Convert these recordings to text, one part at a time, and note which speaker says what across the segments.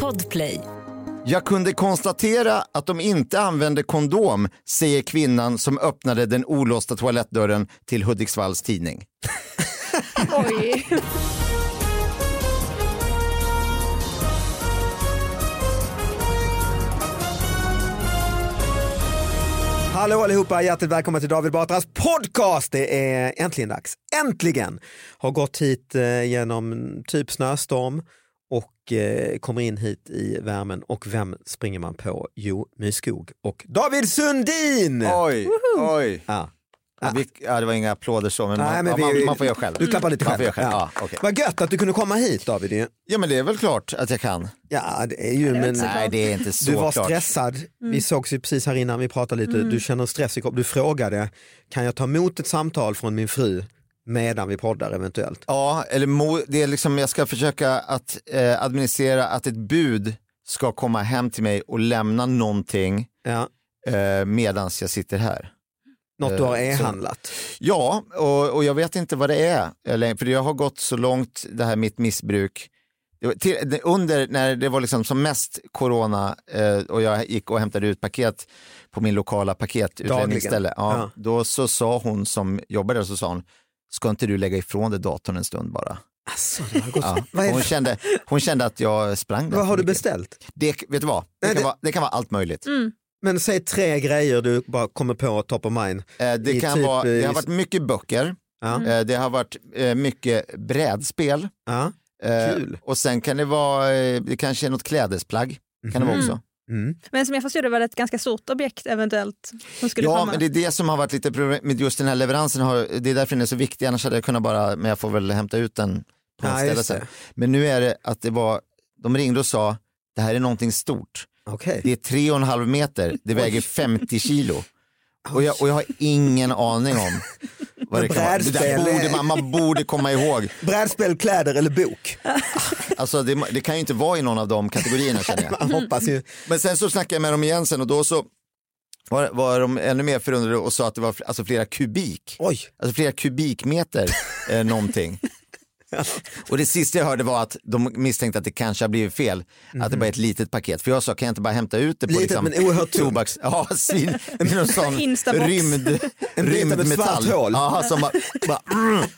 Speaker 1: Podplay.
Speaker 2: Jag kunde konstatera att de inte använde kondom, säger kvinnan som öppnade den olåsta toalettdörren till Hudiksvalls tidning.
Speaker 3: Oj.
Speaker 4: Hallå allihopa, hjärtligt välkomna till David Batras podcast. Det är äntligen dags. Äntligen! Har gått hit eh, genom typ snöstorm och eh, kommer in hit i värmen. Och vem springer man på? Jo, Myskog och David Sundin!
Speaker 2: Oj, oj.
Speaker 4: Ja.
Speaker 2: Ja, vi, ja, det var inga applåder så, men,
Speaker 4: Nej,
Speaker 2: man,
Speaker 4: men
Speaker 2: ja,
Speaker 4: vi-
Speaker 2: man, man får göra själv.
Speaker 4: Du klappar lite
Speaker 2: Man
Speaker 4: själv.
Speaker 2: får göra själv.
Speaker 4: Ja.
Speaker 2: Ja. okej.
Speaker 4: Vad gött att du kunde komma hit David. ju.
Speaker 2: ja, men det är väl klart att jag kan.
Speaker 4: Ja, det är ju, men
Speaker 2: Nej, det är inte så
Speaker 4: du var
Speaker 2: klart.
Speaker 4: stressad. Vi sågs ju precis här innan vi pratade lite. Du känner stress i kroppen. Du frågade, kan jag ta emot ett samtal från min fru medan vi poddar eventuellt?
Speaker 2: Ja, eller mo, det är liksom, jag ska försöka att eh, administrera att ett bud ska komma hem till mig och lämna någonting
Speaker 4: Ja.
Speaker 2: eh, medans jag sitter här.
Speaker 4: Något du har e-handlat.
Speaker 2: Ja, och, och jag vet inte vad det är. Eller, för jag har gått så långt, det här mitt missbruk. Det var Till, det- under när det var liksom som mest corona eh, och jag gick och hämtade ut paket på min lokala paketutlämningsställe. Ja,
Speaker 4: Ja.
Speaker 2: Då så sa hon som jobbade där, så sa hon, ska inte du lägga ifrån dig datorn en stund bara?
Speaker 4: Alltså, det har gått...
Speaker 2: Ja.
Speaker 4: vad, är
Speaker 2: Hon,
Speaker 4: det?
Speaker 2: kände, hon kände att jag sprang där
Speaker 4: vad
Speaker 2: för
Speaker 4: har du
Speaker 2: mycket.
Speaker 4: beställt?
Speaker 2: Det, vet du vad? Det,
Speaker 4: Nej,
Speaker 2: kan
Speaker 4: det-
Speaker 2: Vara, det kan vara allt möjligt.
Speaker 4: Men säg tre grejer du bara kommer på top of mind.
Speaker 2: Eh,
Speaker 4: I
Speaker 2: det, kan
Speaker 4: typ,
Speaker 2: vara, det
Speaker 4: eh,
Speaker 2: har varit mycket böcker,
Speaker 4: Ja.
Speaker 2: eh, det har varit eh, mycket brädspel.
Speaker 4: Ja.
Speaker 2: Eh,
Speaker 4: Kul.
Speaker 2: och sen kan det vara, eh, det kanske är något klädesplagg. Kan det vara också.
Speaker 4: Mm.
Speaker 3: Men som jag förstod det var det ett ganska stort objekt eventuellt som skulle
Speaker 2: Ja,
Speaker 3: komma.
Speaker 2: men det är det som har varit lite problem med just den här leveransen. Har, det är därför den är så viktig, annars hade jag kunnat bara, men jag får väl hämta ut den på något
Speaker 4: Ja,
Speaker 2: ställe
Speaker 4: just
Speaker 2: sen.
Speaker 4: det.
Speaker 2: Men nu är det att det var, de ringde och sa, det här är någonting stort.
Speaker 4: Okej.
Speaker 2: Det är tre och en halv meter, det väger 50 kilo. Och jag, och jag har ingen aning om vad det kan vara. Det där
Speaker 4: Brädspel är-
Speaker 2: borde man, man borde komma ihåg.
Speaker 4: Brädspel, kläder eller bok?
Speaker 2: Alltså det, det kan ju inte vara i någon av de kategorierna känner jag.
Speaker 4: Man hoppas ju.
Speaker 2: Men sen så snackade jag med dem igen sen och då så var, var de ännu mer förundrade och sa att det var fl- alltså flera kubik.
Speaker 4: Oj,
Speaker 2: Alltså flera kubikmeter eh, någonting. Och det sista jag hörde var att de misstänkte att det kanske har blivit fel, att det bara är ett litet paket. För jag sa, kan jag inte bara hämta ut det på
Speaker 4: Mhm. Litet,
Speaker 2: liksom,
Speaker 4: men oerhört tungt.
Speaker 2: tobaks... Ja, svin, med någon sån
Speaker 3: Instabox.
Speaker 2: rymd,
Speaker 4: En bit av ett
Speaker 2: rymdmetall.
Speaker 4: svart hål.
Speaker 2: Ja, som bara, bara, mm.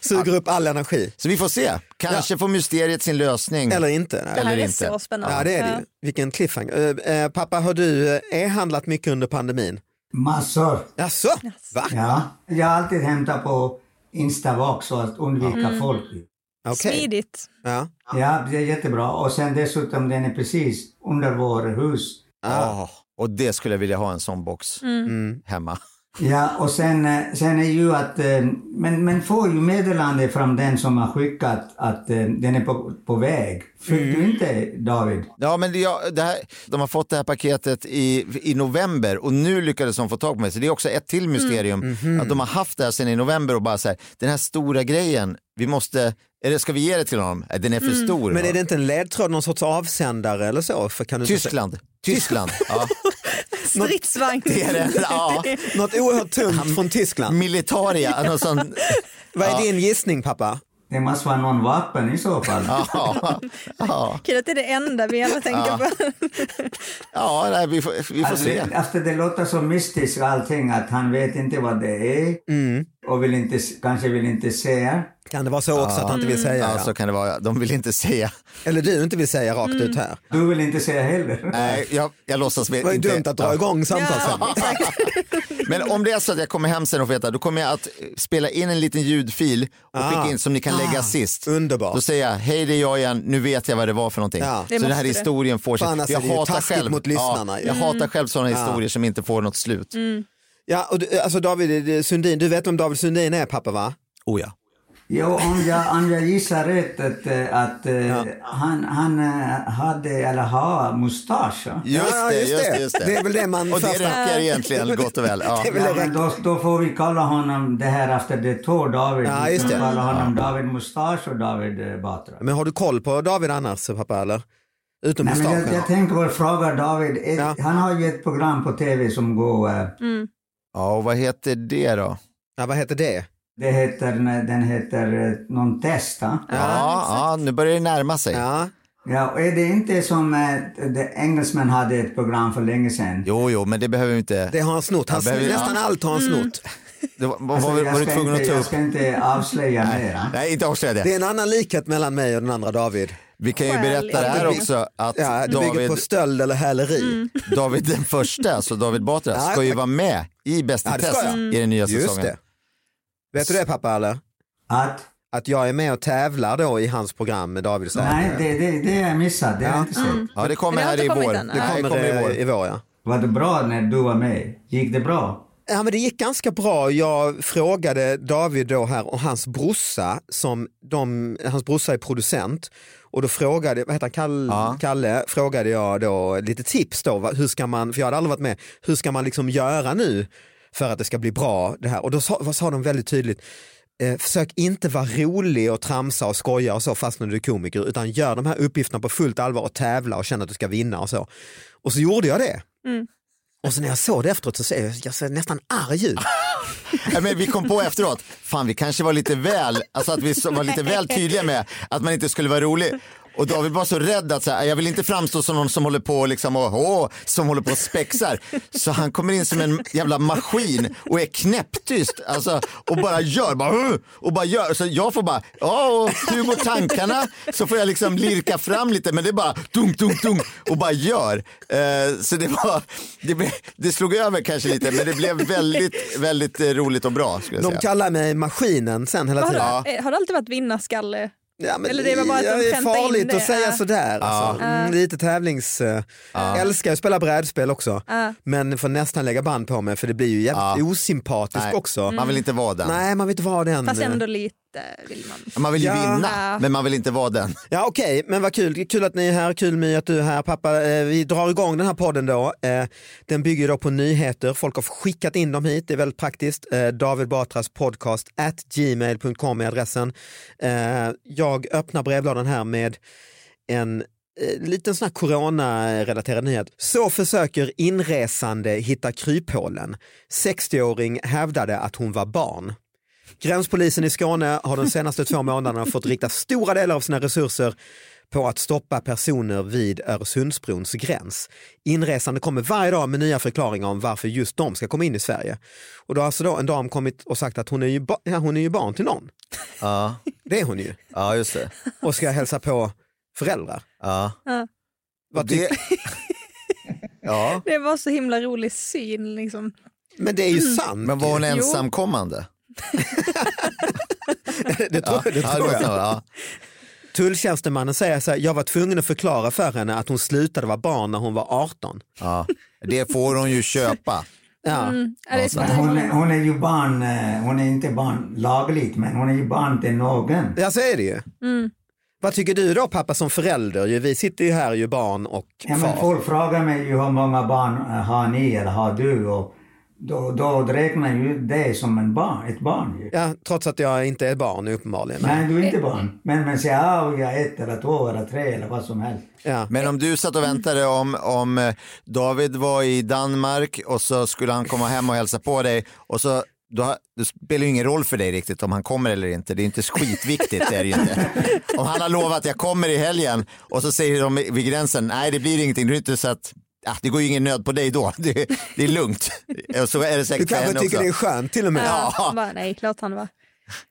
Speaker 4: suger upp all energi.
Speaker 2: Så vi får se, kanske får mysteriet sin lösning.
Speaker 4: Eller inte. Nej.
Speaker 3: det här
Speaker 2: Mm. eller
Speaker 3: är
Speaker 2: inte.
Speaker 3: så spännande.
Speaker 4: Ja det är det ju. Vilken cliffhanger. Eh, eh, pappa, har du eh, e-handlat mycket under pandemin?
Speaker 5: Massor.
Speaker 4: Jaså? Va?
Speaker 5: Ja. Jag har alltid hämtat på Instabox för att undvika folk.
Speaker 4: Okej.
Speaker 3: Smidigt.
Speaker 4: Ja.
Speaker 5: Ja, det är jättebra. Och sen dessutom, den är precis under vårt hus.
Speaker 2: Ah. Och det skulle jag vilja ha en sån box
Speaker 4: Mm.
Speaker 2: hemma.
Speaker 5: Ja, och sen, eh, sen är ju att... eh, Men man får ju meddelande från den som har skickat att eh, den är på, på väg. Fick du inte, David?
Speaker 2: Ja, men det, ja, det här, de har fått det här paketet i, i november och nu lyckades de få tag på mig. Så det är också ett
Speaker 4: Mm.
Speaker 2: till mysterium.
Speaker 4: Mhm.
Speaker 2: Att de har haft det här sedan i november och bara så här, den här stora grejen, vi måste, eller ska vi ge det till honom? Nej, den är för stor.
Speaker 4: Mm. Men
Speaker 2: va?
Speaker 4: är det inte en ledtråd, någon sorts avsändare eller så? För kan du inte säga-
Speaker 2: Tyskland, Tyskland. ja.
Speaker 3: Stridsvagn.
Speaker 2: Det är det. Ja.
Speaker 4: Något oerhört tungt från
Speaker 2: Mm.
Speaker 4: Tyskland.
Speaker 2: Militaria, någon sån,
Speaker 4: Vad är din gissning pappa?
Speaker 5: Det måste vara någon vapen i så fall.
Speaker 2: ja, ja,
Speaker 3: Kul att det är det enda vi alla tänker på.
Speaker 2: ja nej, vi, får, vi får
Speaker 5: Alltså,
Speaker 2: se.
Speaker 5: det, alltså, det låter så mystiskt allting att han vet inte vad det är
Speaker 2: Mm.
Speaker 5: och vill inte, kanske vill inte säga.
Speaker 4: Kan det vara så också att han inte vill säga?
Speaker 2: Ja, så
Speaker 4: Ja.
Speaker 2: kan det vara, de vill inte säga.
Speaker 4: Eller du inte vill säga rakt
Speaker 2: Mm.
Speaker 4: ut här?
Speaker 5: Du vill inte säga heller.
Speaker 2: Nej, jag, jag låtsas
Speaker 4: Det var ju
Speaker 2: inte.
Speaker 4: dumt att dra igång samtalsämnet.
Speaker 2: Men om det är så att jag kommer hem sen och får veta, då kommer jag att eh, spela in en liten ljudfil och
Speaker 4: Ah.
Speaker 2: skicka in som ni kan lägga
Speaker 4: Ah.
Speaker 2: sist.
Speaker 4: Underbart.
Speaker 2: Då säger jag, hej det är jag igen, nu vet jag vad det var för någonting.
Speaker 4: Ja. Det
Speaker 2: Så den här
Speaker 3: måste det.
Speaker 2: historien får sig.
Speaker 4: Fan, alltså,
Speaker 2: jag
Speaker 4: det är ju taskigt mot lyssnarna Mm.
Speaker 2: Ja,
Speaker 4: ju.
Speaker 2: jag hatar själv sådana historier som inte får något slut.
Speaker 4: Ja, och du, alltså David eh, Sundin, du vet om David Sundin är pappa va?
Speaker 2: Oh, ja.
Speaker 5: Jo, om jag, om jag gissar rätt att, eh, att eh, han, han eh, hade eller har mustasch. ja.
Speaker 2: Just,
Speaker 4: Ja,
Speaker 2: det,
Speaker 4: just
Speaker 2: just
Speaker 4: det.
Speaker 2: det, just det.
Speaker 4: Det är väl det man
Speaker 2: Och det
Speaker 4: första-
Speaker 2: räcker egentligen gott och väl. Ja.
Speaker 4: Det är väl
Speaker 5: Ja,
Speaker 4: det
Speaker 5: men
Speaker 4: rätt.
Speaker 5: då, då får vi kalla honom det här efter det två David.
Speaker 4: Ja, just
Speaker 5: vi kan
Speaker 4: det.
Speaker 5: kalla honom David Mustasch och David eh, Batra.
Speaker 4: Men har du koll på David annars pappa eller? Utom
Speaker 5: Nej, men jag,
Speaker 4: mustaschen?
Speaker 5: jag tänker bara fråga David. eh,
Speaker 4: Ja.
Speaker 5: Han har ju ett program på tv som går eh,
Speaker 2: ja, och vad heter det då?
Speaker 4: Ja, vad heter det?
Speaker 5: Det heter, den heter eh, någon test. Ja?
Speaker 2: Ja, ja, nu börjar det närma sig.
Speaker 4: Ja.
Speaker 5: Ja, och är det inte som eh, det- engelsmän hade ett program för länge sedan?
Speaker 2: Jo, jo, men det behöver vi inte.
Speaker 4: Det har han snott. Han,
Speaker 2: Jag behöver- Mm.
Speaker 4: nästan
Speaker 2: ja.
Speaker 4: allt har han snott.
Speaker 2: Det var, var,
Speaker 5: Alltså,
Speaker 2: var,
Speaker 5: jag
Speaker 2: var du
Speaker 5: ska
Speaker 2: tvungen
Speaker 5: inte,
Speaker 2: att ta
Speaker 5: Jag
Speaker 2: upp?
Speaker 5: ska inte avslöja mera.
Speaker 2: Nej, inte avslöja det.
Speaker 4: Det är en annan likhet mellan mig och den andra David.
Speaker 2: Vi kan ju berätta det här
Speaker 3: Skäligt.
Speaker 2: också att
Speaker 4: Ja, det bygger
Speaker 2: David, Mm.
Speaker 4: på stöld eller häleri.
Speaker 2: David den första, alltså David Batra,
Speaker 4: Ja,
Speaker 2: ska ju
Speaker 4: tack.
Speaker 2: vara med i Bäst i
Speaker 4: Ja, det ska
Speaker 2: test
Speaker 4: jag. Mm.
Speaker 2: i den nya
Speaker 4: Just
Speaker 2: säsongen.
Speaker 4: det. Vet du det pappa eller?
Speaker 5: Att,
Speaker 4: Att jag är med och tävlar då i hans program med David och Sara.
Speaker 5: nej, det, det, det har jag missat. Det har jag inte sett.
Speaker 3: Mm.
Speaker 2: Ja, det kommer
Speaker 3: Men det har
Speaker 2: här
Speaker 3: inte
Speaker 2: i
Speaker 3: kommit
Speaker 2: vår.
Speaker 3: än,
Speaker 2: Nej,
Speaker 4: kommer,
Speaker 2: det kommer i
Speaker 4: eh,
Speaker 2: vår.
Speaker 4: i vår ja.
Speaker 5: Var det bra när du var med? Gick det bra?
Speaker 4: Ja, men det gick ganska bra. Jag frågade David då här och hans brorsa, som de, hans brorsa är producent. Och då frågade, vad heter han, Kalle,
Speaker 2: Ja.
Speaker 4: Kalle frågade jag då lite tips då, va- hur ska man, för jag hade aldrig varit med, hur ska man liksom göra nu för att det ska bli bra det här? Och då sa, vad sa de väldigt tydligt, eh, försök inte vara rolig och tramsa och skoja och så fast när du är komiker, utan gör de här uppgifterna på fullt allvar och tävla och känna att du ska vinna och så. Och så gjorde jag det. Och så när jag såg det efteråt så ser jag, jag ser nästan arg ut.
Speaker 2: Nej, men vi kom på efteråt, fan vi kanske var lite väl, alltså att vi så- var lite väl tydliga med att man inte skulle vara rolig. Och David var så rädd att så här, jag vill inte framstå som någon som håller på liksom, och, åh, som håller på och spexar. Så han kommer in som en jävla maskin och är knäpptyst alltså, och bara gör. Bara, "Ugh!" och bara gör. Så jag får bara, ja och hur går tankarna? Så får jag liksom lirka fram lite men det är bara dunk, dunk, dunk och bara gör. Eh, så det, var, det, blev, det slog över kanske lite men det blev väldigt, väldigt eh, roligt och bra. Skulle jag
Speaker 4: De
Speaker 2: säga.
Speaker 4: kallar mig maskinen sen hela
Speaker 3: Har du,
Speaker 4: tiden.
Speaker 3: eh, har du alltid varit vinnarskalle?
Speaker 4: Ja, men
Speaker 3: Eller det var bara att de
Speaker 4: ja, det är
Speaker 3: skämtade in
Speaker 4: farligt
Speaker 3: det,
Speaker 4: att säga
Speaker 3: ja.
Speaker 4: sådär. Alltså. Mm, lite tävlings... eh, Älskar att spela brädspel också. Men får nästan lägga band på mig för det blir ju jävligt osympatiskt
Speaker 2: Nej,
Speaker 4: också.
Speaker 2: Man vill inte vara den.
Speaker 4: Nej, man vill inte vara den.
Speaker 3: Fast ändå lite vill man.
Speaker 2: Man vill ju
Speaker 4: Ja.
Speaker 2: vinna men man vill inte vara den.
Speaker 4: Ja okej, men vad kul. Kul att ni är här, kul My att du är här. Pappa, eh, vi drar igång den här podden då. Eh, den bygger ju då på nyheter, folk har skickat in dem hit, det är väldigt praktiskt. Eh, David Batras podcast at gmail.com är adressen. Eh, jag öppnar brevlådan här med en eh, liten sån här coronarelaterad nyhet. Så försöker inresande hitta kryphålen. 60-åring hävdade att hon var barn. Gränspolisen i Skåne har de senaste två månaderna fått rikta stora delar av sina resurser på att stoppa personer vid Öresundsbrons gräns. Inresande kommer varje dag med nya förklaringar om varför just de ska komma in i Sverige. Och då har alltså då en dam kommit och sagt att hon är ju, ba- ja, hon är ju barn till någon.
Speaker 2: Ja,
Speaker 4: Det är hon ju.
Speaker 2: ja just det.
Speaker 4: Och ska hälsa på föräldrar.
Speaker 2: Ja.
Speaker 4: Vad
Speaker 2: Det, ja.
Speaker 3: Det var så himla rolig syn liksom.
Speaker 4: Men det är ju sant.
Speaker 2: Mm. Men var hon
Speaker 4: ju.
Speaker 2: ensamkommande?
Speaker 4: det tror,
Speaker 2: Ja,
Speaker 4: det
Speaker 2: det
Speaker 4: tror
Speaker 2: var
Speaker 4: jag.
Speaker 2: så, ja.
Speaker 4: Tulltjänstemannen säger så här, jag var tvungen att förklara för henne att hon slutade vara barn när hon var 18.
Speaker 2: Ja. Det får hon ju köpa.
Speaker 4: Ja.
Speaker 3: Mm. Ja, det är som
Speaker 5: Men
Speaker 3: att-
Speaker 5: hon, är- hon är ju barn, eh, hon är inte barn lagligt, men hon är ju barn till någon.
Speaker 4: Ja så är det ju.
Speaker 3: Mm.
Speaker 4: Vad tycker du då pappa som förälder? Ju, Vi sitter ju här ju barn och
Speaker 5: Ja, men
Speaker 4: far.
Speaker 5: folk frågar mig ju hur många barn eh, har ni eller har du? Och då, då räknar ju dig som en barn, ett barn ju.
Speaker 4: Ja, trots att jag inte är barn uppenbarligen.
Speaker 5: Nej, du är
Speaker 3: Eh.
Speaker 5: inte barn. Men man säger ja, jag är ett eller två eller tre eller vad som helst.
Speaker 4: Ja.
Speaker 2: Men om du satt och väntade om, om eh, David var i Danmark och så skulle han komma hem och hälsa på dig och så då, har- det spelar ju ingen roll för dig riktigt om han kommer eller inte. Det är inte skitviktigt. Det är det ju inte. Om han har lovat jag kommer i helgen och så säger de vid gränsen nej det blir ingenting. Det, är inte så att, ah, det går ju ingen nöd på dig då. Det, det är lugnt. Och så är det
Speaker 4: Du
Speaker 2: säkert för
Speaker 4: kanske
Speaker 2: henne
Speaker 4: tycker
Speaker 2: också.
Speaker 4: det är skönt till och med.
Speaker 3: Ja, han bara, nej, klart han var.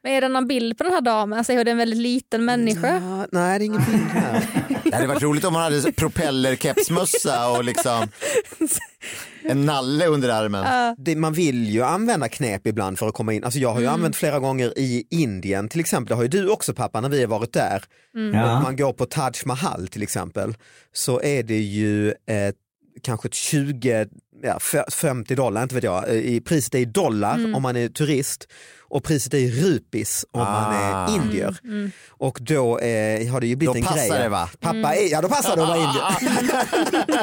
Speaker 3: Men är det någon bild på den här damen? Alltså, är det en väldigt liten människa?
Speaker 4: Ja, nej, det är ingen bild här.
Speaker 2: Det hade varit roligt om hon hade så- propellerkepsmössa och liksom en nalle under armen.
Speaker 4: Det, man vill ju använda knep ibland för att komma in. Alltså, jag har ju använt flera gånger i Indien till exempel. Det har ju du också pappa när vi har varit där. Om
Speaker 5: Ja.
Speaker 4: man går på Taj Mahal till exempel så är det ju eh, kanske ett 20, ja, f- 50 dollar, inte vet jag. Eh, i- Priset är i dollar om man är turist och priset är i rupis om man
Speaker 2: Ah.
Speaker 4: är indier. Och då eh, har det ju blivit
Speaker 2: Då
Speaker 4: en
Speaker 2: passar
Speaker 4: grej.
Speaker 2: det, va?
Speaker 4: Pappa är, ja då passar det att vara indier.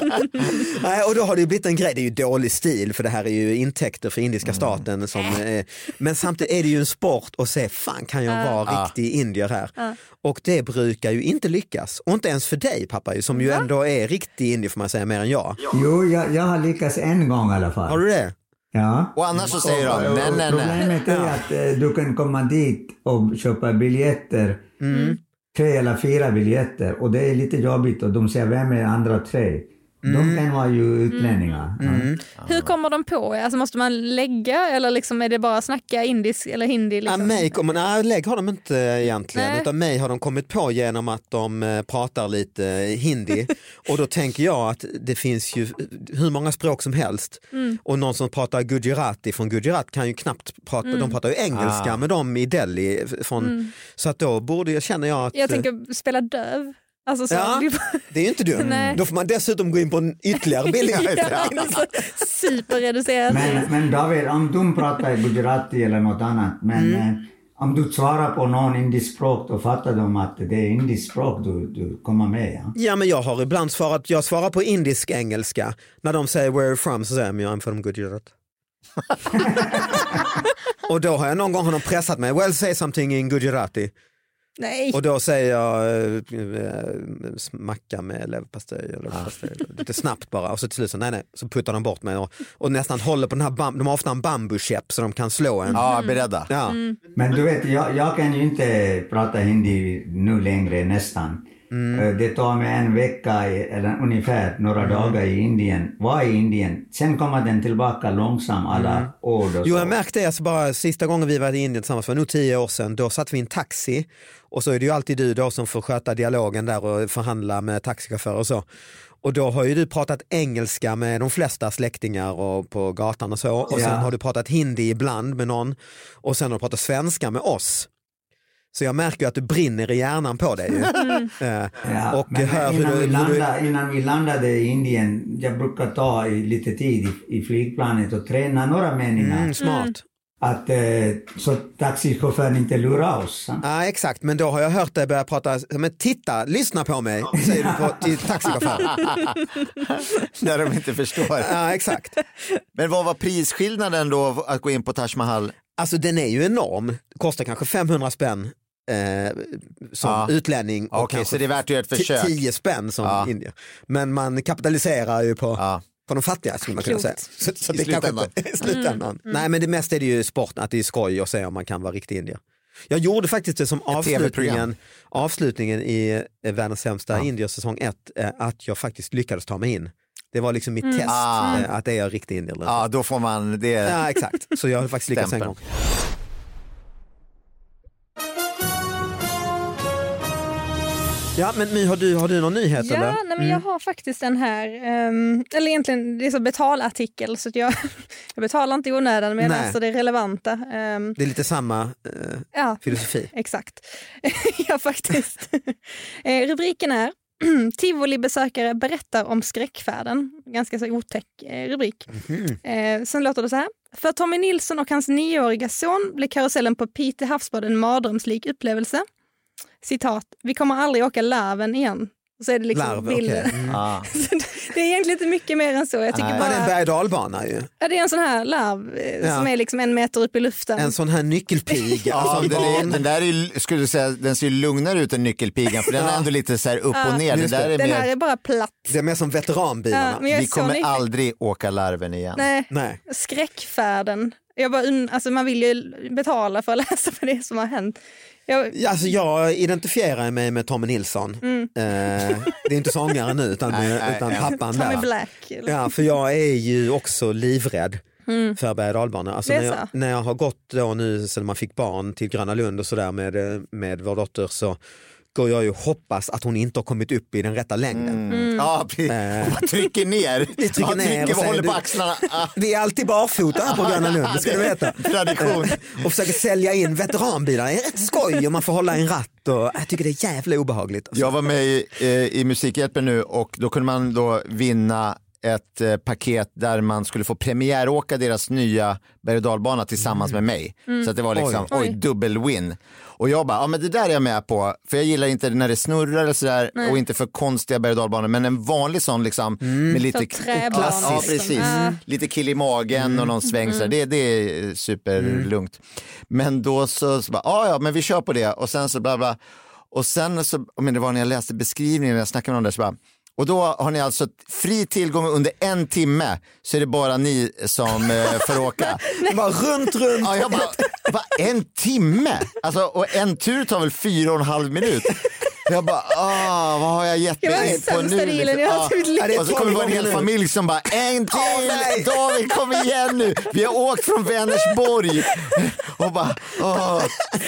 Speaker 4: Nej, och då har det ju blivit en grej, det är ju dålig stil för det här är ju intäkter för indiska staten. Som, eh, men samtidigt är det ju en sport att se, fan kan jag vara riktig indier här? Och det brukar ju inte lyckas. Och inte ens för dig pappa ju, som ju ändå är riktig indier får man säga, mer än jag.
Speaker 5: Jo, jag, jag har lyckats en gång i alla fall.
Speaker 4: Har du det?
Speaker 5: Ja.
Speaker 2: Och annars så säger de nej, nej, nej.
Speaker 5: Problemet är att eh, du kan komma dit och köpa biljetter tre eller fyra biljetter och det är lite jobbigt och de säger vem är andra tre? De kan vara ju utlänningar. ja.
Speaker 3: Hur kommer de på er? Alltså måste man lägga eller liksom är det bara snacka indisk eller hindi?
Speaker 4: Ja,
Speaker 3: Liksom?
Speaker 4: mig kommer, nej, lägg har de inte egentligen,
Speaker 3: Nej.
Speaker 4: utan mig har de kommit på genom att de eh, pratar lite eh, hindi. och då tänker jag att det finns ju hur många språk som helst.
Speaker 3: Mm.
Speaker 4: Och någon som pratar gujarati från Gujarat kan ju knappt prata,
Speaker 3: Mm.
Speaker 4: de pratar ju engelska
Speaker 2: Ah.
Speaker 4: med dem i Delhi. f- Från, Så att då borde jag, känner jag att
Speaker 3: Jag tänker spela döv. Alltså, så,
Speaker 4: Ja.
Speaker 3: det är bara-
Speaker 4: det är ju inte dumt.
Speaker 3: Nej.
Speaker 4: Då får man dessutom gå in på en ytterligare billigare.
Speaker 3: ja, det är så superreducerat.
Speaker 5: Men, men David, om du pratar gujarati eller något annat, men eh, om du svarar på någon indisk språk, då fattar de att det är indisk språk du, du kommer med. Ja?
Speaker 4: Ja men jag har ibland svarat, jag svarar på indisk engelska. När de säger where are you from så säger jag I'm from Gujarat. och då har jag någon gång har de pressat mig, well say something in Gujarati.
Speaker 3: Nej,
Speaker 4: Och då säger jag eh, eh, smacka med leverpastej och leverpastej. Lite snabbt bara och så till slut så, nej nej, så puttar de bort mig och, och nästan håller på den här, bam, de har ofta en bambukäpp så de kan slå en.
Speaker 2: Ja, beredda.
Speaker 4: Ja.
Speaker 5: Men du vet, jag, jag kan ju inte prata hindi nu längre nästan.
Speaker 4: Mm.
Speaker 5: Eh, Det tar mig en vecka i- eller ungefär några dagar i Indien, var i Indien. Sen kommer den tillbaka långsamt alla ord och
Speaker 4: Mm. Jo
Speaker 5: så.
Speaker 4: jag märkte det, alltså bara sista gången vi var i Indien tillsammans, för nog tio år sedan, då satt vi i en taxi och så är det ju alltid du då som får sköta dialogen där och förhandla med taxichaufförer och så. Och då har ju du pratat engelska med de flesta släktingar och på gatan och så och sen
Speaker 5: Ja.
Speaker 4: har du pratat hindi ibland med någon och sen har du pratat svenska med oss. Så jag märker ju att du brinner i hjärnan på dig. Ju. Eh,
Speaker 5: Mm. Ja,
Speaker 4: och
Speaker 5: men
Speaker 4: hör hur
Speaker 5: innan, vi
Speaker 4: du, hur du...
Speaker 5: landade, innan vi landade i Indien, jag brukar ta i- lite tid i, i flygplanet och träna några meningar.
Speaker 4: Mm, smart.
Speaker 5: Att, eh, så taxichauffören inte lurar oss. va?
Speaker 4: Ja exakt, men då har jag hört dig börja prata, men titta, lyssna på mig, säger du på, till taxichauffören.
Speaker 2: När de inte förstår.
Speaker 4: Ja exakt.
Speaker 2: Men vad var prisskillnaden då att gå in på Taj Mahal?
Speaker 4: Alltså den är ju enorm, kostar kanske 500 spänn eh, som
Speaker 2: Ja.
Speaker 4: utlänning och
Speaker 2: Okej, så
Speaker 4: kanske
Speaker 2: det är värt att göra ett försök.
Speaker 4: 10 spänn som
Speaker 2: Ja.
Speaker 4: indier. Men man kapitaliserar ju på,
Speaker 2: Ja.
Speaker 4: på de fattiga skulle man kunna säga.
Speaker 3: Klokt.
Speaker 4: Så, så
Speaker 2: I
Speaker 4: det kanske
Speaker 2: slutändan.
Speaker 4: inte- I slutändan. Nej men det mesta är det ju sport, att det är skoj och se om man kan vara riktig indier. Jag gjorde faktiskt det som avslutningen,
Speaker 2: TV-program.
Speaker 4: avslutningen i eh, Världens sämsta indier säsong 1, att jag faktiskt lyckades ta mig in. Det var liksom mitt test,
Speaker 2: Ah.
Speaker 4: eh, att är jag riktig indier eller inte.
Speaker 2: Ja, då får man det.
Speaker 4: Ja exakt, så jag har faktiskt lyckats en
Speaker 2: Stämpel.
Speaker 4: gång. Ja men My, har du, har du någon nyhet
Speaker 3: Ja,
Speaker 4: eller?
Speaker 3: nej, men jag har faktiskt den här, ehm, eller egentligen det är så betalartikel så att jag, jag betalar inte i onödan men jag
Speaker 4: Nej.
Speaker 3: läser det relevanta. Ehm,
Speaker 4: Det är lite samma eh,
Speaker 3: ja,
Speaker 4: filosofi.
Speaker 3: exakt. ja, faktiskt. Eh, Rubriken är Tivoli-besökare berättar om skräckfärden. Ganska så otäck eh, rubrik. Eh, sen låter det så här. För Tommy Nilsson och hans nioåriga son blev karusellen på Pite havsbad en mardrömslik upplevelse. Citat, vi kommer aldrig åka larven igen. Och Så är det liksom
Speaker 4: Larv, okej.
Speaker 3: bilden.
Speaker 4: Mm.
Speaker 2: Ja.
Speaker 3: Så det är egentligen inte mycket mer än så. Jag tycker
Speaker 2: Nej.
Speaker 4: Bara en
Speaker 3: bara,
Speaker 4: berg och dalbana ju.
Speaker 3: ja, det är en sån här larv eh,
Speaker 4: Ja.
Speaker 3: som är liksom en meter upp i luften.
Speaker 4: En sån här alltså, nyckelpiga
Speaker 2: Ja,
Speaker 4: som
Speaker 2: den, är,
Speaker 4: barn.
Speaker 2: den där är, ju- skulle du säga, den ser ju lugnare ut än nyckelpigan för den är ändå lite så här upp och ner. Det
Speaker 4: Just
Speaker 2: där
Speaker 4: det.
Speaker 2: är
Speaker 3: Den här
Speaker 2: mer,
Speaker 3: är bara platt.
Speaker 4: Det är mer som veteranbilarna.
Speaker 3: Ja, men jag är
Speaker 2: vi
Speaker 3: så
Speaker 2: kommer
Speaker 3: nyfiken.
Speaker 2: aldrig åka larven igen.
Speaker 3: Nej,
Speaker 4: Nej.
Speaker 3: skräckfärden. Jag bara, un- alltså man vill ju betala för att läsa för det som har hänt. Jag,
Speaker 4: Ja, Alltså jag identifierar mig med Tommy Nilsson.
Speaker 3: Mm.
Speaker 4: Eh, det är inte sångaren nu utan,
Speaker 2: Nej, nej,
Speaker 4: utan
Speaker 2: nej.
Speaker 4: pappan
Speaker 3: Tommy
Speaker 4: där.
Speaker 3: Black. liksom. eller- Mm.
Speaker 4: Ja, för jag är ju också livrädd för berg och dalbana. alltså,
Speaker 3: Det är
Speaker 4: när, jag,
Speaker 3: så.
Speaker 4: när jag har gått då nu sen man fick barn till Gröna Lund och sådär med, eh, med vår dotter så går jag ju och hoppas att hon inte har kommit upp i den rätta längden.
Speaker 2: Mm.
Speaker 3: Mm.
Speaker 2: Ja, precis.
Speaker 4: Eh.
Speaker 2: Och bara trycker ner.
Speaker 4: trycker
Speaker 2: ja,
Speaker 4: ner
Speaker 2: trycker,
Speaker 4: och
Speaker 2: och
Speaker 4: säger
Speaker 2: håller på
Speaker 4: du-
Speaker 2: axlarna. Ah,
Speaker 4: Vi är alltid barfota här på Gröna Lund, det ska du veta.
Speaker 2: Tradition.
Speaker 4: Och försöker sälja in veteranbilar, det är rätt skoj och man får hålla i en ratt och jag tycker det är jävla obehagligt.
Speaker 2: Jag var med i, eh, i Musikhjälpen nu och då kunde man då vinna ett eh, paket där man skulle få premiäråka deras nya berg och dalbana tillsammans med mig. Så att det var liksom,
Speaker 3: Oj.
Speaker 2: oj, dubbel win. Och jag bara, ja men det där är jag med på, för jag gillar inte när det snurrar och sådär och inte för konstiga berg och dalbanor, men en vanlig sån liksom med lite
Speaker 3: Så träbana
Speaker 2: klassisk, ja,
Speaker 3: liksom.
Speaker 2: precis.
Speaker 3: Mm.
Speaker 2: lite kill i magen och någon sväng sådär, det, det är superlugnt. Men då så, så bara, "Ah, ja ja men vi kör på det och sen så bla bla. Och sen så, men det var när jag läste beskrivningen, när jag snackade med någon där, så bara, Och då har ni alltså fri tillgång under en timme så är det bara ni som eh, får åka.
Speaker 4: Bara runt, runt.
Speaker 2: Ja, jag bara, bara, en timme? Alltså, och en tur tar väl fyra och en halv minut? Jag bara, ah, vad har jag gett
Speaker 3: Jag var
Speaker 2: mig
Speaker 3: den
Speaker 2: in på
Speaker 3: sämsta
Speaker 2: nu?
Speaker 3: dealen jag har typ haft i mitt liv.
Speaker 4: Ja, det är
Speaker 2: och så kommer det vara en hel
Speaker 4: tolv gånger nu.
Speaker 2: familj som bara, en till!
Speaker 4: nej.
Speaker 2: David kom igen nu! Vi har åkt från Vänersborg! Och bara, åh,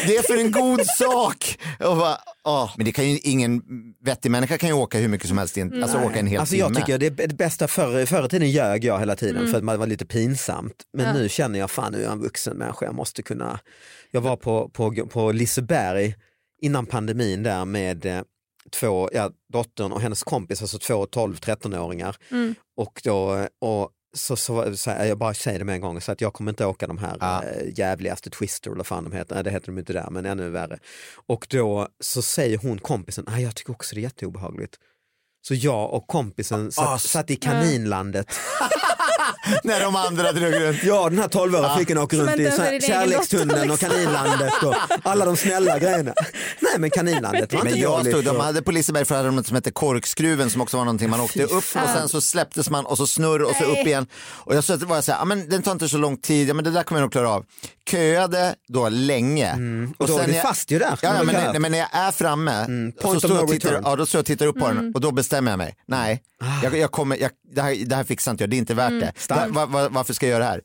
Speaker 2: det är för en god sak! Och bara, åh. Men det kan ju ingen vettig människa kan ju åka hur mycket som helst, i en- alltså åka en hel
Speaker 4: Alltså
Speaker 2: timme.
Speaker 4: jag tycker det, är det bästa förr, förr i tiden ljög jag hela tiden för att man var lite pinsamt. Men nu känner jag fan nu är jag en vuxen människa, jag måste kunna. Jag var på, på, på Liseberg innan pandemin där med eh, två, ja, dottern och hennes kompis, alltså två 12-13-åringar.
Speaker 3: Mm.
Speaker 4: Och då, och så, så, så här, jag bara säger det med en gång, så att jag kommer inte åka de här
Speaker 2: Ja.
Speaker 4: eh, jävligaste Twister eller vad fan de heter, nej det heter de inte där men ännu värre. Och då så säger hon kompisen, nej jag tycker också det är jätteobehagligt. Så jag och kompisen satt,
Speaker 2: Ah, s-
Speaker 4: satt i kaninlandet.
Speaker 2: När de andra drog runt.
Speaker 4: Ja, den här
Speaker 2: Ah.
Speaker 4: 12-åriga flickan åker
Speaker 3: Som
Speaker 4: runt
Speaker 3: inte
Speaker 4: i
Speaker 3: ens
Speaker 4: så
Speaker 3: är
Speaker 4: här,
Speaker 3: din egen
Speaker 4: kärlekstunneln
Speaker 3: dotter, liksom?
Speaker 4: och kaninlandet och alla de snälla grejerna. Nej men kaninlandet var
Speaker 2: Men
Speaker 4: inte
Speaker 2: jag
Speaker 4: dåligt.
Speaker 2: stod, de hade på Liseberg för hade de något som hette korkskruven som också var någonting man åkte upp och sen så släpptes man och så snurr och så
Speaker 3: Nej.
Speaker 2: upp igen. Och jag sa att det var så här, "Ah, men den tar inte så lång tid, ja men det där kommer jag nog klara av. Köade då länge.
Speaker 4: Mm. och, då är
Speaker 2: sen
Speaker 4: du
Speaker 2: jag-
Speaker 4: fast ju där.
Speaker 2: Ja, ja, men,
Speaker 4: Kan- Mm.
Speaker 2: nej, men när jag är framme så
Speaker 4: point
Speaker 2: står
Speaker 4: of
Speaker 2: jag och
Speaker 4: no
Speaker 2: tittar,
Speaker 4: return. Mm. Ah.
Speaker 2: ja, då står jag och tittar upp på den och då bestämmer jag mig. Nej, jag, jag kommer, jag, det, här, det här fixar inte jag, det är inte värt
Speaker 4: Mm.
Speaker 2: det. Va, va, va, varför ska jag göra det här?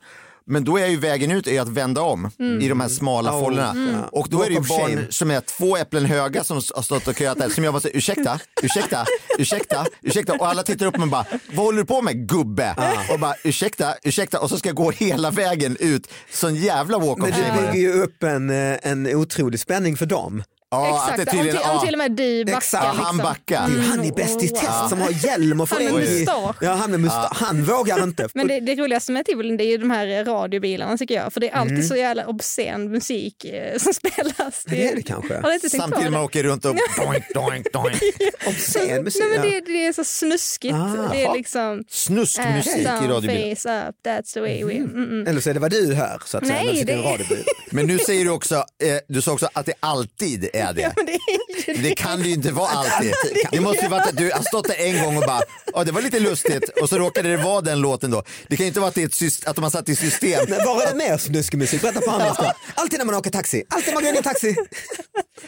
Speaker 2: Men då är ju vägen ut är att vända om i de här smala
Speaker 4: Oh,
Speaker 2: fållorna.
Speaker 4: mm.
Speaker 2: Och då är det ju
Speaker 4: Walk of
Speaker 2: barn
Speaker 4: shame.
Speaker 2: som är två äpplen höga som har stått och köat där. Som jag bara säger ursäkta, ursäkta, ursäkta, ursäkta. Och alla tittar upp och bara, vad håller du på med gubbe? Och bara ursäkta, ursäkta. Och så ska jag gå hela vägen ut. Sån jävla walk
Speaker 4: Men
Speaker 2: of shame.
Speaker 4: det
Speaker 2: var det.
Speaker 4: bygger ju upp en, eh, en otrolig spänning för dem.
Speaker 2: Ja, att det
Speaker 3: Exakt, om,
Speaker 2: tydligen-
Speaker 3: till, om
Speaker 2: ja.
Speaker 3: till och med du backar.
Speaker 4: Exakt,
Speaker 2: Ja, han
Speaker 3: liksom.
Speaker 2: backar.
Speaker 4: Det är ju han i Bäst i
Speaker 3: Wow.
Speaker 4: test som har hjälm och får
Speaker 3: Han med
Speaker 4: eld i-
Speaker 3: mustasch.
Speaker 4: Ja, han med mustasch. Han vågar inte.
Speaker 3: Men det, det roligaste med Tivolin det är ju de här eh, radiobilarna tycker jag. För det är alltid så jävla obscen musik eh, som spelas.
Speaker 4: Mm. Det är det kanske.
Speaker 3: Har du inte tänkt på
Speaker 2: Samtidigt
Speaker 3: det?
Speaker 2: man åker runt och doink, doink, doink.
Speaker 4: Obscen musik.
Speaker 3: Nej, men
Speaker 4: ja.
Speaker 3: det, det är så snuskigt.
Speaker 4: Ah.
Speaker 3: det är liksom... eh,
Speaker 2: Snuskmusik i
Speaker 3: some
Speaker 2: radiobilen.
Speaker 3: face up, that's the way we... Mm, mm.
Speaker 4: Eller så är det vad du hör så att säga.
Speaker 3: Nej,
Speaker 4: när du sitter i en
Speaker 3: det-
Speaker 4: radiobil.
Speaker 2: Men nu säger du också, eh, du sa också att det alltid är det.
Speaker 3: Men det är ju
Speaker 2: Det kan det ju inte vara alltid. Det måste ju vara att du har stått där en gång och bara, ja det var lite lustigt och så råkade det vara den låten då. Det kan ju inte vara att, det är ett syst- att de har satt i system.
Speaker 4: Men var är det mer snuskig musik? Berätta på andra ställen. Alltid när man åker taxi. Alltid man går in i en taxi.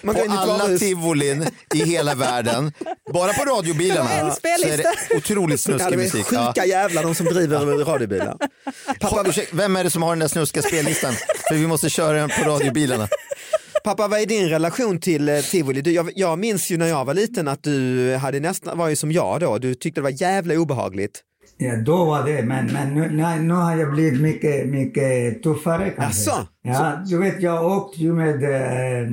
Speaker 4: Man går
Speaker 2: På
Speaker 4: in i ett
Speaker 2: alla
Speaker 4: varuhus.
Speaker 2: tivolin i hela världen, bara på
Speaker 3: Det var
Speaker 2: radiobilarna
Speaker 3: en
Speaker 2: så är det
Speaker 3: spellista.
Speaker 2: otroligt
Speaker 4: Ja,
Speaker 2: snuskig
Speaker 4: de är
Speaker 2: musik.
Speaker 4: sjuka jävlar de som driver radiobilar.
Speaker 2: Pappa, ursäkta, vem är det som har den där snuskiga spellistan? För vi måste köra den på radiobilarna.
Speaker 4: Pappa, vad är din relation till eh, tivoli? Du, jag, jag minns ju när jag var liten att du hade nästan, var ju som jag då, du tyckte det var jävla obehagligt.
Speaker 5: Ja, då var det, men, men nu, nej, nu har jag blivit mycket, mycket tuffare kanske.
Speaker 4: Jaså?
Speaker 5: Ja, du vet, jag åkte ju med eh,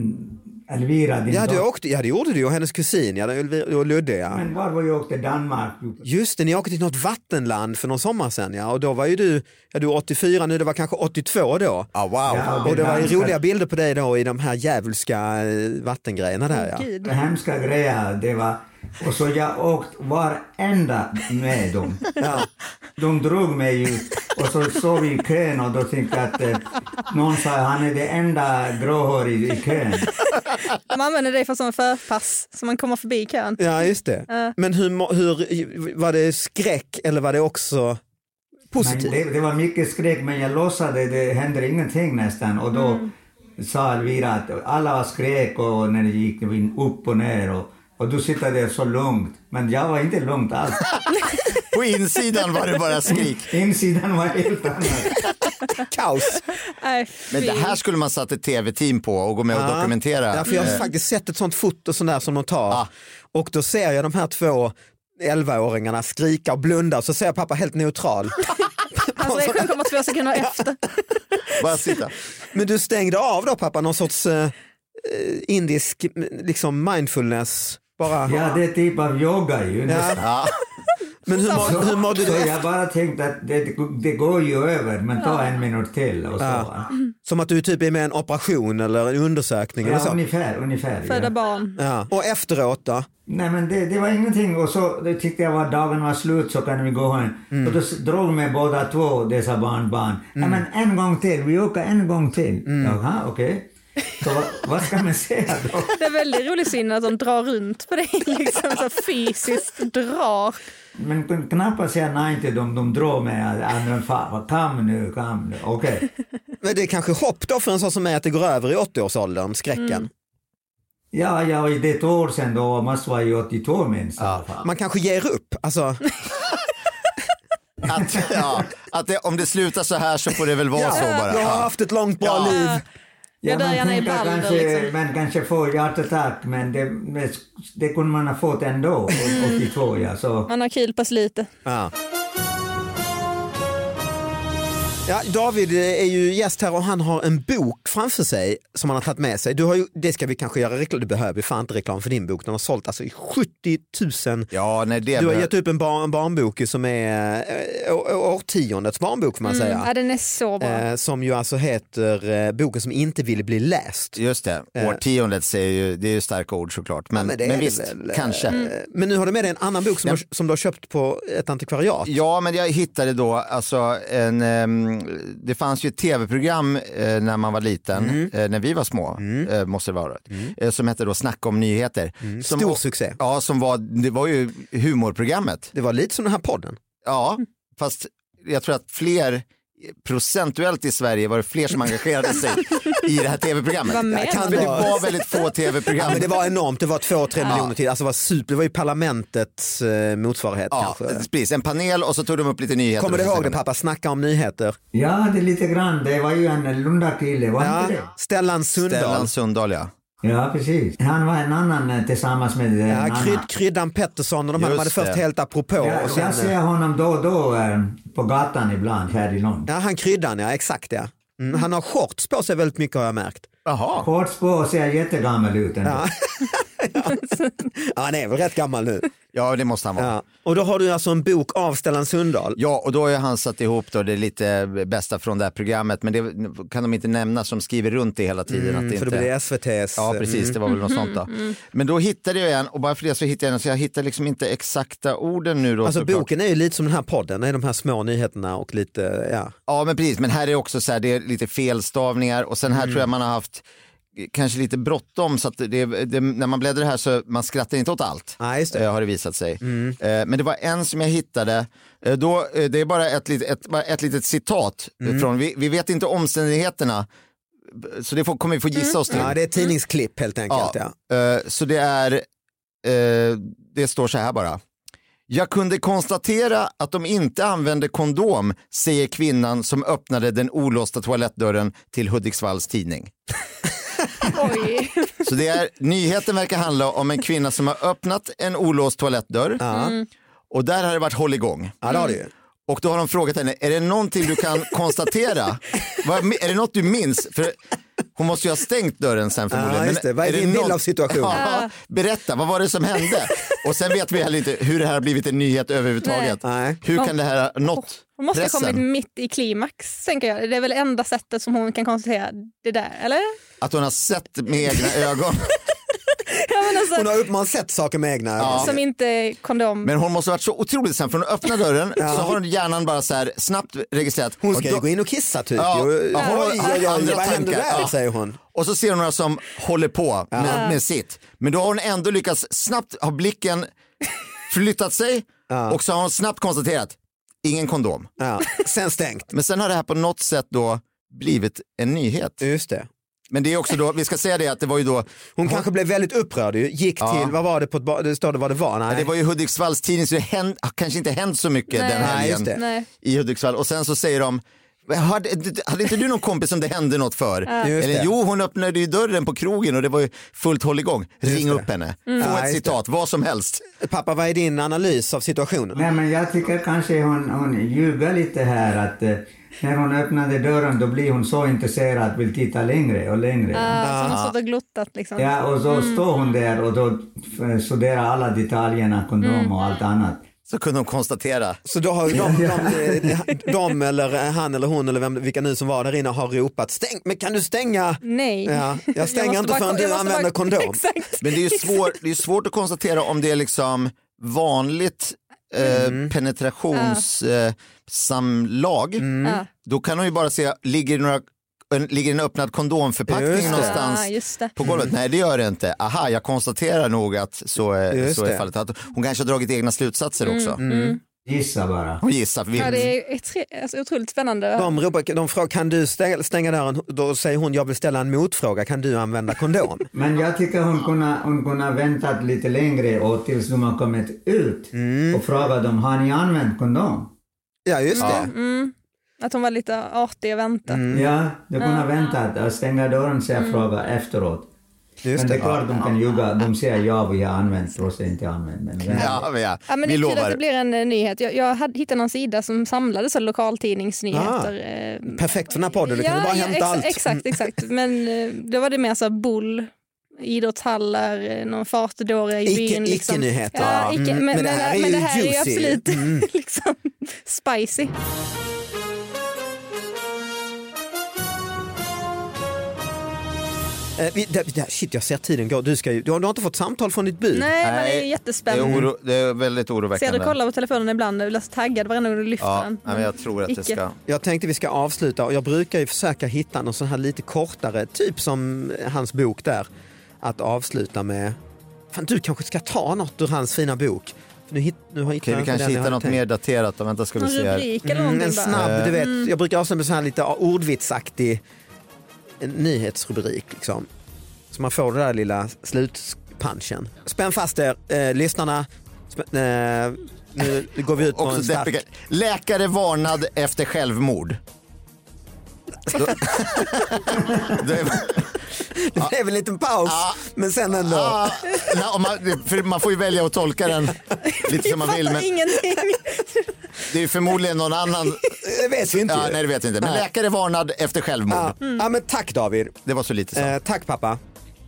Speaker 5: Elvira, din
Speaker 4: Ja, du
Speaker 5: dotter.
Speaker 4: åkte, ja det gjorde du och hennes kusin, ja, Ulvi- och Ludde ja.
Speaker 5: Men var var jag åkte? Danmark?
Speaker 4: Just det, ni åkte till något vattenland för någon sommar sedan ja, och då var ju du, ja du var 84 nu, det var kanske 82 då.
Speaker 2: Ah, wow.
Speaker 5: Ja,
Speaker 4: Och det var ju
Speaker 5: danska-
Speaker 4: roliga bilder på dig då i de här djävulska eh, vattengrejerna där ja.
Speaker 3: Gud.
Speaker 5: Hemska grejer. Det var, och så jag åkte varenda med dem.
Speaker 4: Ja.
Speaker 5: De drog mig ju och så såg vi i kön och då tänkte jag att eh, någon sa han är det enda gråhårig i kön.
Speaker 3: De använder dig för som förpass, så man kommer förbi kön.
Speaker 4: Ja, just det. Men hur, må- hur, var det skräck eller var det också
Speaker 5: Men
Speaker 4: positivt?
Speaker 5: det, det var mycket skräck men jag låtsades det hände ingenting nästan och då
Speaker 4: Mm.
Speaker 5: sa Elvira att alla var skrek och när det gick in upp och ner och, och du sitter där så lugnt. Men jag var inte lugnt alls.
Speaker 2: På insidan var det bara skrik.
Speaker 5: Insidan var helt annan.
Speaker 4: Kaos.
Speaker 3: Nej,
Speaker 2: Men det
Speaker 3: fy.
Speaker 2: här skulle man satt ett tv-team på och gå med och
Speaker 4: Ja.
Speaker 2: dokumentera.
Speaker 4: Ja, för jag har
Speaker 2: Eh,
Speaker 4: faktiskt sett ett sånt foto sån där som de tar
Speaker 2: Ja.
Speaker 4: och då ser jag de här två 11-åringarna skrika och blunda och så ser jag pappa helt neutral.
Speaker 3: Hans reaktion kommer två sekunder efter.
Speaker 2: Bara sitta.
Speaker 4: Men du stängde av då pappa någon sorts eh, eh, indisk m- liksom mindfulness. Bara.
Speaker 5: Ja, det är typ av yoga ju.
Speaker 4: Ja.
Speaker 2: Ja.
Speaker 4: Men hur, mår- hur mådde
Speaker 5: Så
Speaker 4: du?
Speaker 5: jag bara tänkte att det, det går ju över, men ta en minut till och så. va.
Speaker 4: Som att du typ är med i en operation eller en undersökning eller
Speaker 5: Ja,
Speaker 4: så.
Speaker 5: ungefär, ungefär.
Speaker 3: Föda
Speaker 5: Ja.
Speaker 3: barn.
Speaker 4: Ja. Och efteråt då?
Speaker 5: Nej, men det, det var ingenting och så då tyckte jag att dagen var slut så kan vi gå hem. Och då s- drog mig båda två, dessa barnbarn. Ja, men en gång till, vi åker en gång till. Jaha, okej. Så vad, vad ska man säga då?
Speaker 3: Det är väldigt rolig syn att de drar runt på dig, liksom så fysiskt drar.
Speaker 5: Men kun- knappast säga nej till dem, de drar mig. Ah, men fan, vad- Kom nu, kom nu. Okej.
Speaker 4: Men det är kanske hopp då för en sån som mig att det går över i 80-årsåldern, skräcken.
Speaker 5: Mm. Ja, ja, det är ett år sedan då, måste vara i 82 minst i alla fall.
Speaker 4: Man kanske ger upp. Alltså,
Speaker 2: Att, ja, att det, om det slutar så här så får det väl vara så bara.
Speaker 4: jag har
Speaker 2: Ja.
Speaker 4: haft ett långt bra
Speaker 2: Ja.
Speaker 4: liv.
Speaker 3: Jag dör
Speaker 5: man
Speaker 3: gärna i
Speaker 5: tänker
Speaker 3: Balder,
Speaker 5: kanske,
Speaker 3: liksom.
Speaker 5: Man kanske får hjärtattack, men det, men det kunde man ha fått ändå, 82 ja. Så.
Speaker 3: Man har kul pass lite.
Speaker 4: Ja. Ja, David eh, är ju gäst här och han har en bok framför sig som han har tagit med sig. Du har ju, det ska vi kanske göra reklam Du behöver ju fan inte reklam för din bok. Den har sålt alltså i 70 000.
Speaker 2: ja, nej det
Speaker 4: Du har
Speaker 2: behö-
Speaker 4: gett upp en, bar, en barnbok som är eh, å- å- årtiondets barnbok får man
Speaker 3: Mm, ja,
Speaker 4: säga.
Speaker 3: den är så bra.
Speaker 4: Eh, som ju alltså heter eh, Boken som inte ville bli läst.
Speaker 2: Just det, årtiondet säger ju, det är ju starka ord såklart. Men,
Speaker 4: Eh. men
Speaker 2: men,
Speaker 4: det är det
Speaker 2: visst,
Speaker 4: väl, eh,
Speaker 2: kanske.
Speaker 4: Eh, Men nu har du med dig en annan bok som, du, som du har köpt på ett antikvariat.
Speaker 2: Ja, men jag hittade då, alltså, en, ehm, det fanns ju ett tv-program eh, när man var liten,
Speaker 4: Mm.
Speaker 2: eh, när vi var små, eh, måste det vara, eh, som hette då Snacka om nyheter. Som,
Speaker 4: Mm. Stor succé.
Speaker 2: Ja, som var, det var ju humorprogrammet.
Speaker 4: Det var lite som den här podden.
Speaker 2: Mm, Ja, fast jag tror att fler procentuellt i Sverige var det fler som engagerade sig i det här tv-programmet.
Speaker 3: Vad menar
Speaker 2: det kan-
Speaker 4: du?
Speaker 2: det var väldigt få
Speaker 4: Ja,
Speaker 2: tv-program.
Speaker 4: men det var enormt, det var två, tre miljoner till. Alltså, det, var super. det var ju parlamentets eh, motsvarighet
Speaker 2: Ja,
Speaker 4: kanske.
Speaker 2: precis. En panel och så tog de upp lite nyheter.
Speaker 4: Kommer du
Speaker 2: och så
Speaker 4: ihåg det
Speaker 2: sen-
Speaker 4: pappa, snacka om nyheter.
Speaker 5: Ja, det är lite grann. Det var ju en Lundakille, var
Speaker 4: Ja.
Speaker 5: inte det?
Speaker 4: Stellan Sundahl.
Speaker 2: Stellan Sundahl, ja.
Speaker 5: Ja, precis. Han var en annan eh, tillsammans med eh, en
Speaker 4: Ja,
Speaker 5: annan.
Speaker 4: krydd, kryddan Pettersson och de här, de
Speaker 2: Just
Speaker 4: hade först
Speaker 2: det.
Speaker 4: helt apropå.
Speaker 5: Ja,
Speaker 4: och
Speaker 5: jag
Speaker 4: sen, eh,
Speaker 5: ser honom då och då eh, på gatan ibland här i Lund.
Speaker 4: ja, han kryddan ja, exakt ja. Mm, han har shorts på sig väldigt mycket har jag märkt.
Speaker 2: Jaha.
Speaker 5: Shorts på ser jättegammal ut ändå.
Speaker 4: Ja, han är väl rätt gammal nu.
Speaker 2: Ja, det måste han vara.
Speaker 4: Ja. Och då har du alltså en bok av Stellan Sundahl.
Speaker 2: Ja, och då har ju han satt ihop då det lite bästa från det här programmet, men det kan de inte nämna som skriver runt det hela tiden. att det
Speaker 4: Mm, För
Speaker 2: inte...
Speaker 4: då blir det SVTs. eh,
Speaker 2: Ja, precis, det var väl något sånt då. Men då hittade jag en, och bara för det så hittade jag en, så jag hittar liksom inte exakta orden nu då.
Speaker 4: Alltså
Speaker 2: såklart.
Speaker 4: boken är ju lite som den här podden, det är de här små nyheterna och lite, ja.
Speaker 2: Ja, men precis, men här är också så här, det är lite felstavningar och sen här tror
Speaker 4: Mm.
Speaker 2: jag man har haft eh, kanske lite bråttom så att det, det, när man bläddrar här så man skrattar inte åt allt.
Speaker 4: Nej, just det.
Speaker 2: eh, har det visat sig.
Speaker 4: Mm.
Speaker 2: Eh, Men det var en som jag hittade, eh, då, eh, det är bara ett, lit- ett, bara ett litet citat eh,
Speaker 4: Mm.
Speaker 2: från, vi, vi vet inte omständigheterna, b- så det får, kommer vi få gissa oss till.
Speaker 4: Ja, det är ett tidningsklipp helt enkelt. Ja.
Speaker 2: Eh, Så det är, eh, det står så här bara. Jag kunde konstatera att de inte använde kondom, säger kvinnan som öppnade den olåsta toalettdörren till Hudiksvalls tidning.
Speaker 3: Oj.
Speaker 2: Så det är, nyheten verkar handla om en kvinna som har öppnat en olåst toalettdörr och där har det varit hålligång.
Speaker 4: Ja, det har du ju.
Speaker 2: Och då har de frågat henne, är det någonting du kan konstatera? Vad- är det något du minns? För hon måste ju ha stängt dörren sen förmodligen.
Speaker 4: just det. Vad är din bild av situationen?
Speaker 2: Ja, berätta, vad var det som hände? Och sen vet vi heller inte hur det här har blivit en nyhet överhuvudtaget.
Speaker 4: Nej.
Speaker 2: Hur kan det här ha nått
Speaker 3: Hon måste ha kommit
Speaker 2: pressen?
Speaker 3: mitt i klimax, tänker jag. Det är väl enda sättet som hon kan konstatera det där, eller?
Speaker 2: Att hon har sett med egna ögon.
Speaker 3: Ja, men alltså,
Speaker 4: Hon har uppenbarligen sett saker med egna ögon.
Speaker 3: Som inte kondom.
Speaker 2: Men hon måste ha varit så otroligt snabb, för hon öppnar dörren så har hon hjärnan bara så här snabbt registrerat.
Speaker 4: Hon ska
Speaker 2: och,
Speaker 4: ju
Speaker 2: då-
Speaker 4: gå in och kissa typ.
Speaker 2: Ja,
Speaker 4: Jo,
Speaker 2: ja, hon har
Speaker 4: Oj, oj, oj,
Speaker 2: andra
Speaker 4: vad hände
Speaker 2: tankar.
Speaker 4: där
Speaker 2: Ja.
Speaker 4: säger hon.
Speaker 2: och så ser hon några som håller på med, med sitt. Men då har hon ändå lyckats snabbt, har blicken flyttat sig och så har hon snabbt konstaterat, ingen kondom.
Speaker 4: Ja. Sen stängt.
Speaker 2: Men sen har det här på något sätt då blivit en nyhet.
Speaker 4: Just det.
Speaker 2: Men det är också då, vi ska säga det att det var ju då,
Speaker 4: Hon kanske blev väldigt upprörd ju. Gick
Speaker 2: Ja.
Speaker 4: till, vad var det på ett bar, det står det vad det var? Nej.
Speaker 2: det var ju Hudiksvalls tidning så det händ, har kanske inte hänt så mycket
Speaker 3: Nej.
Speaker 2: den
Speaker 4: Nej, just
Speaker 2: helgen
Speaker 4: det.
Speaker 3: Nej.
Speaker 2: i Hudiksvall. Och sen så säger de, hade, hade inte du någon kompis som det hände något för?
Speaker 4: Just det.
Speaker 2: Eller jo, hon öppnade ju dörren på krogen och det var ju fullt hålligång. Ring
Speaker 4: det. Mm.
Speaker 2: upp henne, få
Speaker 4: Ja,
Speaker 2: ett
Speaker 4: just
Speaker 2: citat, vad som helst.
Speaker 4: Pappa, vad är din analys av situationen?
Speaker 5: Nej, men jag tycker kanske hon, hon ljuger lite här. Att, eh, när hon öppnade dörren då blir hon så intresserad vill titta längre och längre.
Speaker 3: Ah, som har stått och glottat liksom.
Speaker 5: Ja, och så
Speaker 4: Mm.
Speaker 5: står hon där och då eh, studerar alla detaljerna, kondom
Speaker 4: Mm.
Speaker 5: och allt annat.
Speaker 2: Så kunde hon konstatera.
Speaker 4: Så då har ju de, de, de, de eller eh, han eller hon eller vem, vilka nu som var där inne har ropat stäng, men kan du stänga?
Speaker 3: Nej.
Speaker 4: Ja, jag
Speaker 3: Jag
Speaker 4: stänger
Speaker 3: måste
Speaker 4: inte
Speaker 3: bara-
Speaker 4: förrän
Speaker 3: jag
Speaker 4: du
Speaker 3: måste
Speaker 4: använder
Speaker 3: bara-
Speaker 4: kondom.
Speaker 3: Exakt.
Speaker 2: Men det är ju svår, det är svårt att konstatera om det är liksom vanligt eh,
Speaker 3: Mm.
Speaker 2: penetrationssamlag. Eh, samlag.
Speaker 3: Ja. Mm.
Speaker 2: Då kan hon ju bara se, ligger det några en, ligger en öppnad kondomförpackning
Speaker 4: Just det.
Speaker 2: någonstans?
Speaker 3: Ah, just det.
Speaker 2: På golvet? Nej, det gör det inte. Aha, jag konstaterar nog att så är,
Speaker 4: Just
Speaker 2: så är
Speaker 4: det.
Speaker 2: fallet. Att hon kanske har dragit egna slutsatser också.
Speaker 5: Gissa bara.
Speaker 2: Hon gissar. för vi-
Speaker 3: Mm, Ja, det är tre- alltså, otroligt spännande.
Speaker 4: De, ropar, de frågar, kan du stäng- stänga dörren? Då säger hon, jag vill ställa en motfråga, kan du använda kondom?
Speaker 5: Men jag tycker hon kunde, hon kunde väntat lite längre och tills de har kommit ut och frågat dem, har ni använt kondom?
Speaker 4: ja, just det.
Speaker 3: Mm. Att hon var lite artig och väntade.
Speaker 5: Ja, de kunde väntat och stänga dörren och säga fråga efteråt.
Speaker 4: Just
Speaker 5: men det är
Speaker 4: det.
Speaker 5: klart de kan ljuga. De säger ja, vi har använt, trots att de inte har använt. Men vem-
Speaker 2: Ja, men ja.
Speaker 3: Ja, men det
Speaker 2: vi
Speaker 3: är kul att
Speaker 2: lovar.
Speaker 3: det blir en eh, nyhet. Jag, jag hade- hittade någon sida som samlade så här lokaltidningsnyheter. eh,
Speaker 4: Perfekt för den här podden, du kan
Speaker 3: ja,
Speaker 4: ju bara
Speaker 3: ja,
Speaker 4: hämta
Speaker 3: exa-
Speaker 4: allt.
Speaker 3: Exakt, exakt. Men eh, då var det mer så här bull, idrottshallar, eh, någon fartdåre i
Speaker 4: Icke-
Speaker 3: byn. Liksom.
Speaker 4: icke-nyheter.
Speaker 3: Ja,
Speaker 4: Ja.
Speaker 3: icke,
Speaker 4: Mm,
Speaker 3: men, men det här är, men det här är ju
Speaker 4: juicy.
Speaker 3: absolut liksom, spicy.
Speaker 4: Eh, vi, där, där, shit, jag ser tiden gå. Du, ska ju, du, har, du har inte fått samtal från ditt bud?
Speaker 3: Nej, men det är
Speaker 2: Nej, Det är,
Speaker 3: jättespännande.
Speaker 2: oro, det är väldigt
Speaker 3: Ser
Speaker 2: oroväckande.
Speaker 3: du kollar på telefonen ibland, jag blir så taggad varenda gång du lyfter
Speaker 2: ja,
Speaker 3: den.
Speaker 2: nej, men jag tror att det
Speaker 3: Icke.
Speaker 2: ska...
Speaker 4: Jag tänkte vi ska avsluta och jag brukar ju försöka hitta någon sån här lite kortare, typ som hans bok där, att avsluta med. Fan, du kanske ska ta något ur hans fina bok. För nu hit, nu har
Speaker 2: Okej, vi kanske hittar något mer daterat. då. Vänta, ska vi
Speaker 3: Någon
Speaker 2: se här.
Speaker 3: rubrik eller
Speaker 4: Mm,
Speaker 3: någonting
Speaker 4: en
Speaker 3: bara.
Speaker 4: snabb, du vet, jag brukar avsluta med sån här lite ordvitsaktig eh, nyhetsrubrik. Liksom. Så man får den där lilla slutpunchen. Spänn fast er, eh, lyssnarna. Spä- eh, nu går vi ut på
Speaker 2: Också
Speaker 4: en stark...
Speaker 2: deppiga- Läkare varnad efter självmord. Då- Då är-
Speaker 4: Det blev en liten paus, men sen ändå.
Speaker 2: Ja, nej, om man, för man får ju välja att tolka den lite som man vill. Men
Speaker 3: Fattar ingenting.
Speaker 2: det är ju förmodligen någon annan.
Speaker 4: Det vet vi inte.
Speaker 2: Ja,
Speaker 4: ju.
Speaker 2: nej, det vet jag inte. Men
Speaker 4: Nej.
Speaker 2: läkare varnad efter självmord.
Speaker 4: Ja. ja, men tack David.
Speaker 2: Det var så lite så.
Speaker 4: Eh, tack pappa.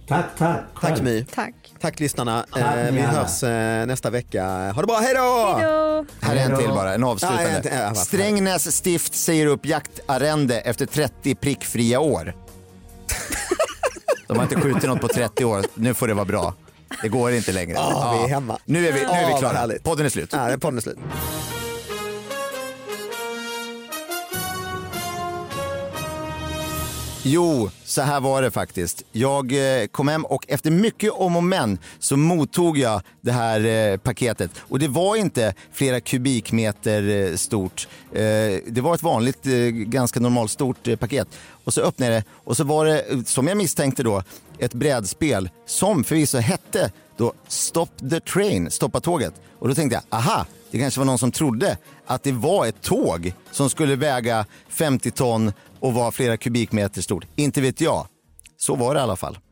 Speaker 5: Tack, tack.
Speaker 4: Tack My.
Speaker 3: Tack.
Speaker 4: Tack lyssnarna.
Speaker 5: Tack,
Speaker 4: eh, vi
Speaker 5: gärna.
Speaker 4: hörs eh, nästa vecka. Ha det bra, hej då!
Speaker 3: Hejdå.
Speaker 2: Här är en till bara, en
Speaker 4: Ja, en till. Ja,
Speaker 2: avslutande.
Speaker 4: vad fan.
Speaker 2: Strängnäs stift säger upp jaktarrende efter 30 prickfria år. De har inte skjutit något på 30 år. Nu får det vara bra. Det går inte längre.
Speaker 4: Ah, vi är
Speaker 2: Ja.
Speaker 4: hemma.
Speaker 2: Nu är vi, nu är
Speaker 4: Ah,
Speaker 2: vi
Speaker 4: vad
Speaker 2: klara.
Speaker 4: härligt.
Speaker 2: Podden är slut.
Speaker 4: Ja, podden är slut.
Speaker 2: Jo, så här var det faktiskt. Jag eh, kom hem och efter mycket om och men så mottog jag det här eh, paketet. Och det var inte flera kubikmeter eh, stort. Eh, det var ett vanligt, eh, ganska normalt stort eh, paket. Och så öppnade jag det och så var det, eh, som jag misstänkte då, ett brädspel som förvisso hette då Stop the Train, Stoppa tåget. Och då tänkte jag, aha, det kanske var någon som trodde att det var ett tåg som skulle väga 50 ton och vara flera kubikmeter stort. Inte vet jag. Så var det i alla fall.